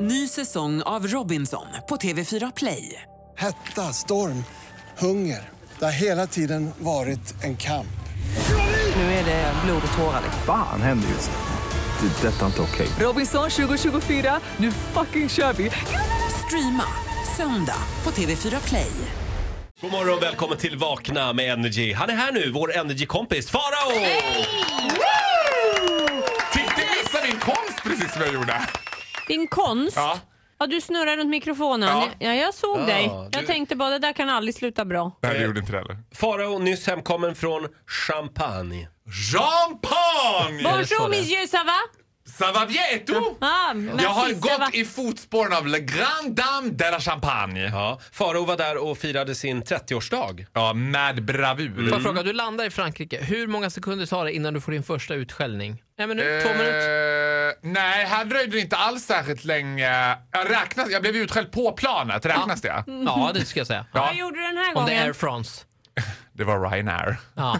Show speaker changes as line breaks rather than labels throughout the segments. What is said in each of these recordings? Ny säsong av Robinson på TV4 Play.
Hetta, storm, hunger. Det har hela tiden varit en kamp.
Nu är det blod och tårar. liksom.
Fan händer just nu. Det. är Detta är inte okej.
Robinson 2024, nu fucking kör vi! Streama söndag på TV4 Play.
God morgon och välkommen till Vakna med Energy. Han är här nu, vår Energy-kompis Farao!
Titti missade din konst precis som jag gjorde.
Din konst? Ja.
Ja.
du snurrar runt mikrofonen. Ja,
Ja.
jag såg
Ja,
dig.
du-
Jag tänkte bara, det där kan aldrig sluta bra.
Nej, det gjorde inte det heller.
Farao, nyss hemkommen från Champagne.
Champagne!
sa
Bonjour
det.
monsieur, ça va?
Ça va bien et tout?
Ah, merci,
Jag har
ça va?
gått i fotspåren av Le Grand Dame de la Champagne.
Ja, Farao var där och firade sin 30-årsdag.
Ja, med bravur.
Får jag
Mm.
fråga, du landar i Frankrike. Hur många sekunder tar det innan du får din första utskällning? En minut, två
Eh,
minuter?
Eh, nej, här dröjde det inte alls särskilt länge. Jag, räknas, jag blev utskälld på planet, räknas det?
mm.
Ja, det ska jag säga.
Ja,
Vad gjorde du den här
Om det är Air
gången?
France.
det var Ryanair.
Ja.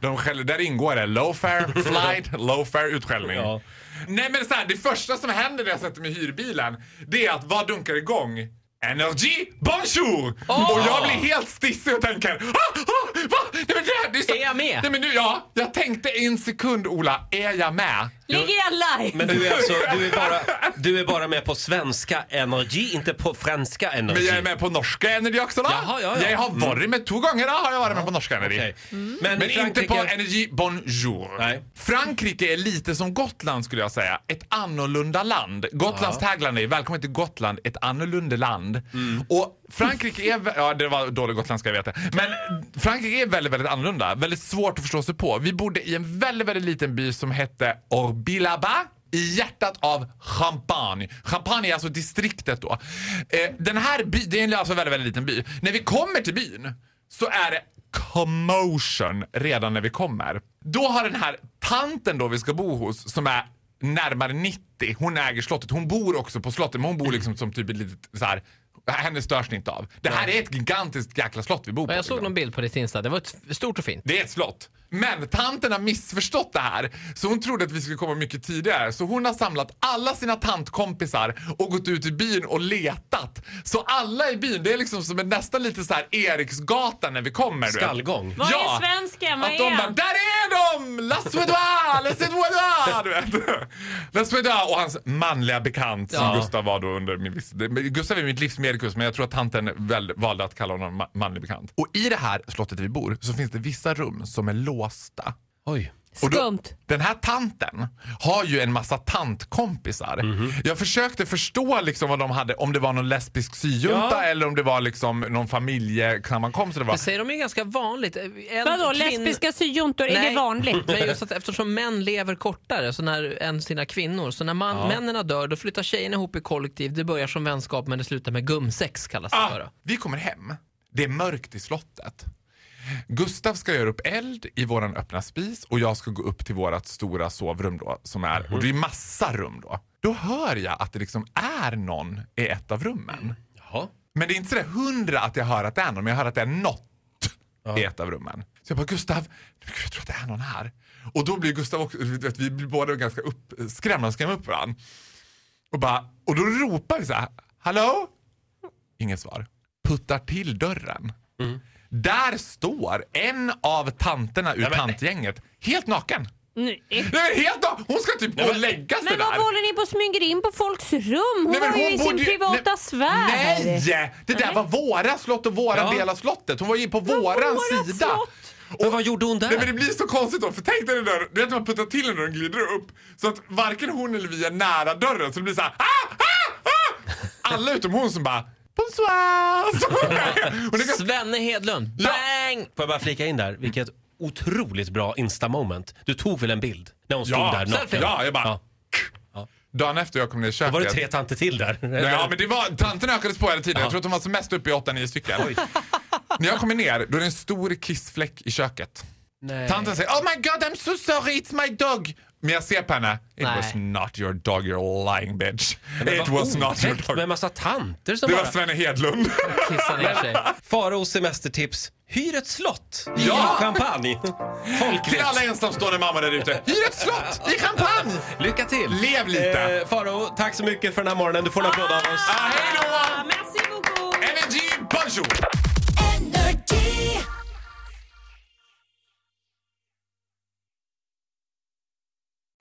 De skäller, där ingår det low fare, flight, low fare, utskällning.
Ja.
Nej men så här, det första som händer när jag sätter mig i hyrbilen, det är att vad dunkar igång? Energy bonjour! Och jag blir helt stissig och tänker ah, ah, va? Nej, men det, det är, så...
Är jag med?
Nej, men nu, ja, jag tänkte en sekund Ola, är jag med?
Ligger jag live?
Men du är alltså, du är bara, du är bara med på svenska Energy, inte på franska Energy.
Men jag är med på norska Energy också då.
Jaha, ja, ja.
Jag har varit med två gånger då, har jag varit med på norska Energy.
Okej.
Mm. Men inte
Frankrike-
på Energy Bonjour.
Nej.
Frankrike är lite som Gotland skulle jag säga. Ett annorlunda land. Gotlands tagline är Välkommen till Gotland, ett annorlunda land.
Mm.
Och Frankrike är... vä- Ja, det var dålig gotländska, jag vet det. Men Frankrike är väldigt, väldigt annorlunda. Väldigt svårt att förstå sig på. Vi bodde i en väldigt, väldigt liten by som hette Orbilaba i hjärtat av Champagne. Champagne är alltså distriktet då. Eh, den här byn, det är alltså en väldigt, väldigt liten by. När vi kommer till byn så är det commotion redan när vi kommer. Då har den här tanten då vi ska bo hos som är närmare 90, hon äger slottet. Hon bor också på slottet men hon bor liksom som typ ett litet så här. Henne störs ni inte av. Det här är ett gigantiskt jäkla slott vi bor på.
Jag såg
liksom.
någon bild på ditt Insta. Det var ett stort och fint.
Det är ett slott. Men tanten har missförstått det här, så hon trodde att vi skulle komma mycket tidigare. Så hon har samlat alla sina tantkompisar och gått ut i byn och letat. Så alla i byn, det är liksom som en nästan lite så här Eriksgatan när vi kommer. du vet.
Skallgång.
Vad är svensken? Vad
Att de
är
bara,
han?
där är de! La Suédois! La Suédois! Du vet. La Suédois och hans manliga bekant som
Ja.
Gustav var då under min viss... det- men Gustav är mitt livs medikus men jag tror att tanten väl, valde att kalla honom ma- manlig bekant. Och i det här slottet vi bor så finns det vissa rum som är låsta.
Oj.
Och då-
Skumt.
Den här tanten har ju en massa tantkompisar. Jag försökte förstå liksom vad de hade, om det var någon lesbisk syjunta
Ja.
eller om det var liksom någon familjesammankomst. eller
Det
vad.
säger de är ganska vanligt. Eh, En
Vadå,
kvinn-
lesbiska syjuntor, är
Nej.
det vanligt?
Men just att eftersom män lever kortare så när, än sina kvinnor, så när man, männen dör då flyttar tjejerna ihop i kollektiv. Det börjar som vänskap men det slutar med gumsex kallas det för.
Ah,
då.
vi kommer hem. Det är mörkt i slottet. Gustav ska göra upp eld i våran öppna spis och jag ska gå upp till vårat stora sovrum då som är, och det är massa rum då. Då hör jag att det liksom är någon i ett av rummen.
Jaha.
Men det är inte sådär hundra att jag hör att det är någon, men jag hör att det är något i ett av rummen. Så jag bara, Gustav, gud, jag tror att det är någon här. Och då blir Gustav också, du vet, vi blir båda ganska uppskrämda och skrämmer upp varandra. Och, bara, och då ropar vi så här, hallå? Inget svar. Puttar till dörren.
Mm.
Där står en av tanterna ur
men-
tantgänget, helt naken.
Nej.
Nej men helt naken! Hon ska typ gå och lägga sig
Men
där.
vad håller ni på och smyger in på folks rum? Hon
Nej, men
var ju i sin
bodde ju-
privata
nej,
sfär.
Nej! Det där var våra slott och våran
Ja.
del av slottet. Hon var ju på våran
vårat
sida.
slott.
Men vad gjorde hon där?
Nej men det blir så konstigt då, för tänk dig den där, du vet när man puttar till den och den glider upp. Så att varken hon eller vi är nära dörren så det blir så här, ah, ah, ah! Alla utom hon som bara Bonsoir! Så- Hon är ganska
Svenne Hedlund,
Ja.
bang!
Får jag bara flika in där, vilket otroligt bra Insta-moment. Du tog väl en bild när hon stod
Ja,
där
selfie. Ja, jag bara- Dagen efter jag kom ner i köket.
Var det tre tanter till där?
Nej, ja, men det var, tanten ökades på hela tiden. Jag tror att de var som mest uppe i 8-9 stycken. När jag kommer ner, då är det en stor kissfläck i köket.
Nej.
Tanten säger Oh my god I'm so sorry it's my dog. Men jag ser på henne, it
Nej.
was not your dog you're lying bitch.
Men
It
vad
was not your
otäckt
dog.
med en massa tanter som
Det var
bara...
Svenne Hedlund.
Kissa ner sig.
Faraos semestertips. Hyr ett slott i
Ja!
champagne.
Till
Folkligt.
alla ensamstående mammor där ute, hyr ett slott i champagne!
Lycka till!
Lev lite.
Eh, Farao, tack så mycket för den här morgonen. Du får en applåd av oss.
Ah, hej då!
Ah, merci beaucoup!
Energy bonjour!